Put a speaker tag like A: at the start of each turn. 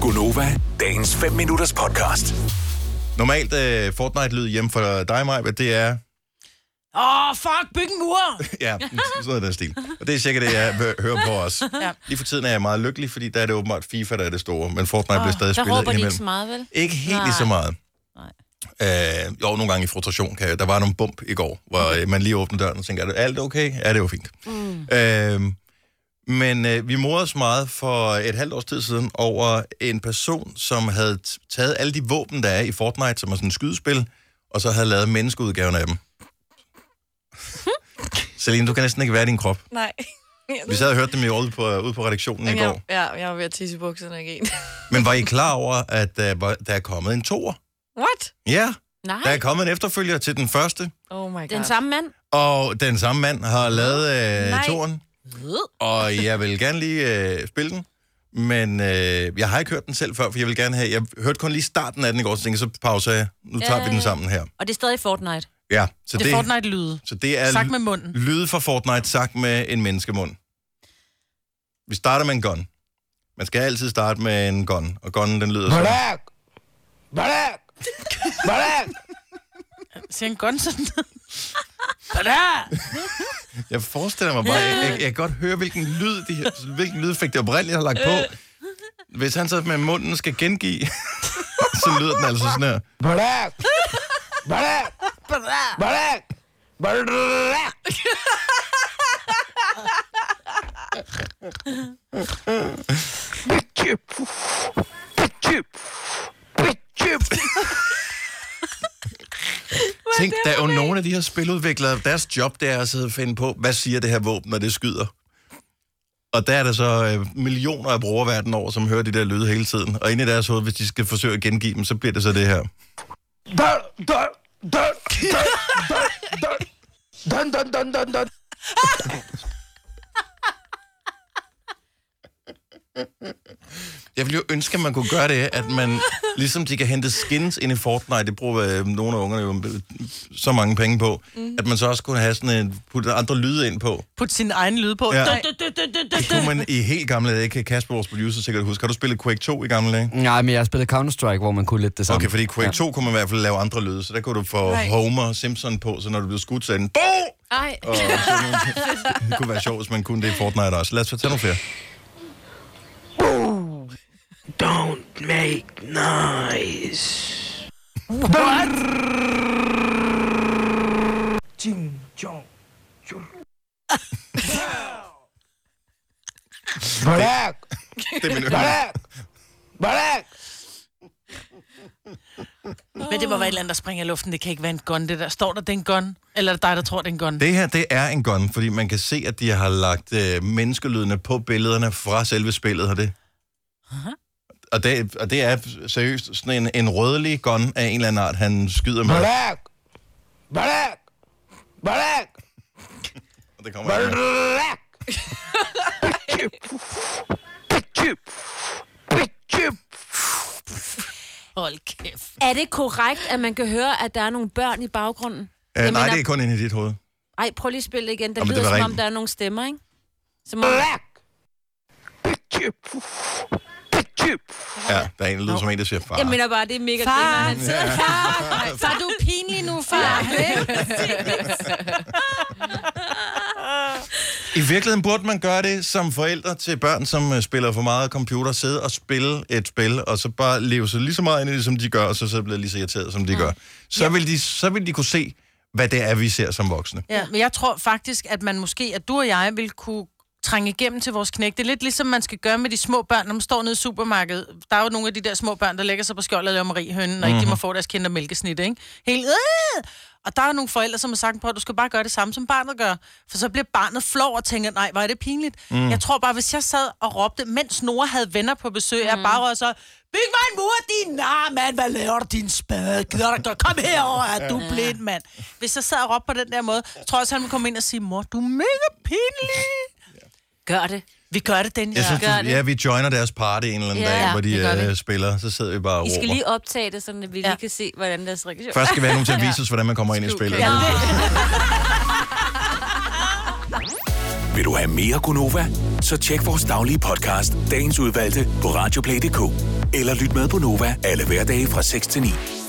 A: Gunova, dagens 5 minutters podcast.
B: Normalt øh, Fortnite-lyd hjemme for dig, Maj, det er...
C: Åh, oh, fuck, byg en mur!
B: Ja, sådan er den stil. Og det er sikkert det, jeg hø- hører på os.
C: Ja.
B: Lige for tiden er jeg meget lykkelig, fordi der er det åbenbart FIFA, der er det store, men Fortnite
D: Åh,
B: bliver stadig
D: der
B: spillet
D: råber de ikke
B: indimellem.
D: så meget, vel?
B: Ikke helt lige så meget. Øh, jo, nogle gange i frustration. Kan jeg, der var nogle bump i går, hvor øh, man lige åbnede døren og tænkte, er det alt okay? Ja, det var fint. Mm. Øh, men øh, vi morede os meget for et halvt års tid siden over en person, som havde t- taget alle de våben, der er i Fortnite, som er sådan et skydespil, og så havde lavet menneskeudgaven af dem. Celine, du kan næsten ikke være i din krop.
E: Nej.
B: Vi sad og hørte dem i ude på, øh, ude på redaktionen i går.
E: Jeg, ja, jeg var ved at tisse i bukserne igen.
B: Men var I klar over, at der, var, der er kommet en toer?
E: What?
B: Ja,
D: Nej,
B: der er kommet en efterfølger til den første.
E: Oh my god.
D: den samme mand.
B: Og den samme mand har lavet øh,
E: Nej.
B: toren, og jeg vil gerne lige øh, spille den. Men øh, jeg har ikke hørt den selv før, for jeg vil gerne have... Jeg hørte kun lige starten af den i går, så tænkte jeg, så pauser jeg. Nu tager
D: Ja,
B: vi den
D: ja.
B: sammen her.
D: Og det er stadig Fortnite.
B: Ja, så
C: Det er Fortnite-lyde.
B: Så det er
C: Sagt med munden.
B: lyde fra Fortnite sagt med en menneskemund. Vi starter med en gun. Man skal altid starte med en gun, og gunnen den lyder sådan.
F: Barak! Barak! Barak!
C: Siger en gun sådan noget.
B: Jeg forestiller mig bare, jeg, jeg, jeg kan godt høre, hvilken lyd de her, hvilken lydeffekt det oprindeligt har lagt på. Hvis han så med munden skal gengive, så lyder den altså sådan her.
F: Barak! Barak! Barak! Barak!
B: Tænk, der er jo nogle af de her spiludviklere, deres job det er at sidde og finde på, hvad siger det her våben, når det skyder. Og der er der så øh, millioner af brugere verden over, som hører de der lyde hele tiden. Og inde i deres hoved, hvis de skal forsøge at gengive dem, så bliver det så det her.
F: Dør! Dør! Dør! Dør! Dør! Dør! Dun, dun, dun, dun, dun.
B: Jeg ville jo ønske, at man kunne gøre det, at man, ligesom de kan hente skins ind i Fortnite, det bruger øh, nogle af ungerne jo øh, så mange penge på, mm. at man så også kunne have sådan en, putte andre lyde ind på.
C: Put sin egen lyd på.
B: Ja.
C: Ja. Du, du, du, du, du,
B: Det
C: du.
B: kunne man i helt gamle dage, kan Kasper, vores producer, sikkert huske. Har du spillet Quake 2 i gamle dage?
G: Nej, men jeg spillede Counter-Strike, hvor man kunne lidt det samme.
B: Okay, fordi i Quake 2 kunne man i hvert fald lave andre lyde, så der kunne du få
E: Nej.
B: Homer og Simpson på, så når du blev skudt, så er den... "Bo!"
E: Ej.
B: Og sådan nogle ting. det kunne være sjovt, hvis man kunne det i Fortnite også. Lad os fortælle nogle flere.
F: Don't make noise. What? Ching chong. chur. Barak!
B: Det er min
F: Barak! Barak!
C: Men det må være et eller andet, der springer i luften. Det kan ikke være en gun, det der. Står der, det er en gun? Eller er det dig, der tror, det er en gun?
B: Det her, det er en gun, fordi man kan se, at de har lagt øh, menneskelydene på billederne fra selve spillet, har det. Og det, og det er seriøst sådan en, en rødlig gun af en eller anden art, han skyder med.
F: Barak! Barak! Barak!
B: Og det kommer her.
F: Barak!
C: Hold kæft.
D: Er det korrekt, at man kan høre, at der er nogle børn i baggrunden?
B: Øh,
D: Jeg
B: nej,
D: mener-
B: det er kun inde i dit hoved.
D: Ej, prøv lige at spille det igen. Der
B: Jamen, det
D: lyder,
B: var
D: som om
B: rent.
D: der er nogle stemmer, ikke? Som om...
F: Barak!
B: Ja, der er en, der lyder som en, der siger far.
D: Jeg mener bare, det er mega
C: Far!
D: griner, han sidder.
C: Ej, far, du er pinlig nu, far.
B: I virkeligheden burde man gøre det som forældre til børn, som øh, spiller for meget computer, sidde og spille et spil, og så bare leve sig lige så meget ind i det, som de gør, og så, så bliver lige så irriteret, som de gør. Så vil de, så vil de kunne se, hvad det er, vi ser som voksne.
C: Ja, men jeg tror faktisk, at man måske, at du og jeg vil kunne trænge igennem til vores knæk. Det er lidt ligesom man skal gøre med de små børn, når man står nede i supermarkedet. Der er jo nogle af de der små børn, der lægger sig på skjold og laver mariehønnen, og mm-hmm. ikke de må få deres kinder mælkesnit, ikke? Helt, øh! Og der er nogle forældre, som har sagt på, at du skal bare gøre det samme, som barnet gør. For så bliver barnet flov og tænker, nej, hvor er det pinligt. Mm. Jeg tror bare, hvis jeg sad og råbte, mens Nora havde venner på besøg, mm. jeg bare var så, byg mig en mur, din nar, mand, hvad laver du, din spade? Gider du ikke? Kom herover, er du blind, mand. Hvis jeg sad og råbte på den der måde, tror jeg også, han ville komme ind og sige, mor, du er mega pinlig.
D: Gør det.
C: Vi gør det, Dennis.
B: Jeg synes, du,
D: Gør det.
B: ja, vi joiner deres party en eller anden
D: Ja,
B: dag,
D: ja,
B: hvor de
D: det gør
B: øh, spiller. Så sidder vi bare og
D: I skal
B: råber.
D: lige optage det, sådan at vi
C: Ja.
D: lige kan se, hvordan deres reaktion
B: Først skal vi have nogen til at vise os, hvordan man kommer ind i spillet.
C: Ja, det-
A: Vil du have mere Gunova? Så tjek vores daglige podcast, dagens udvalgte, på radioplay.dk. Eller lyt med på Nova alle hverdage fra 6 til 9.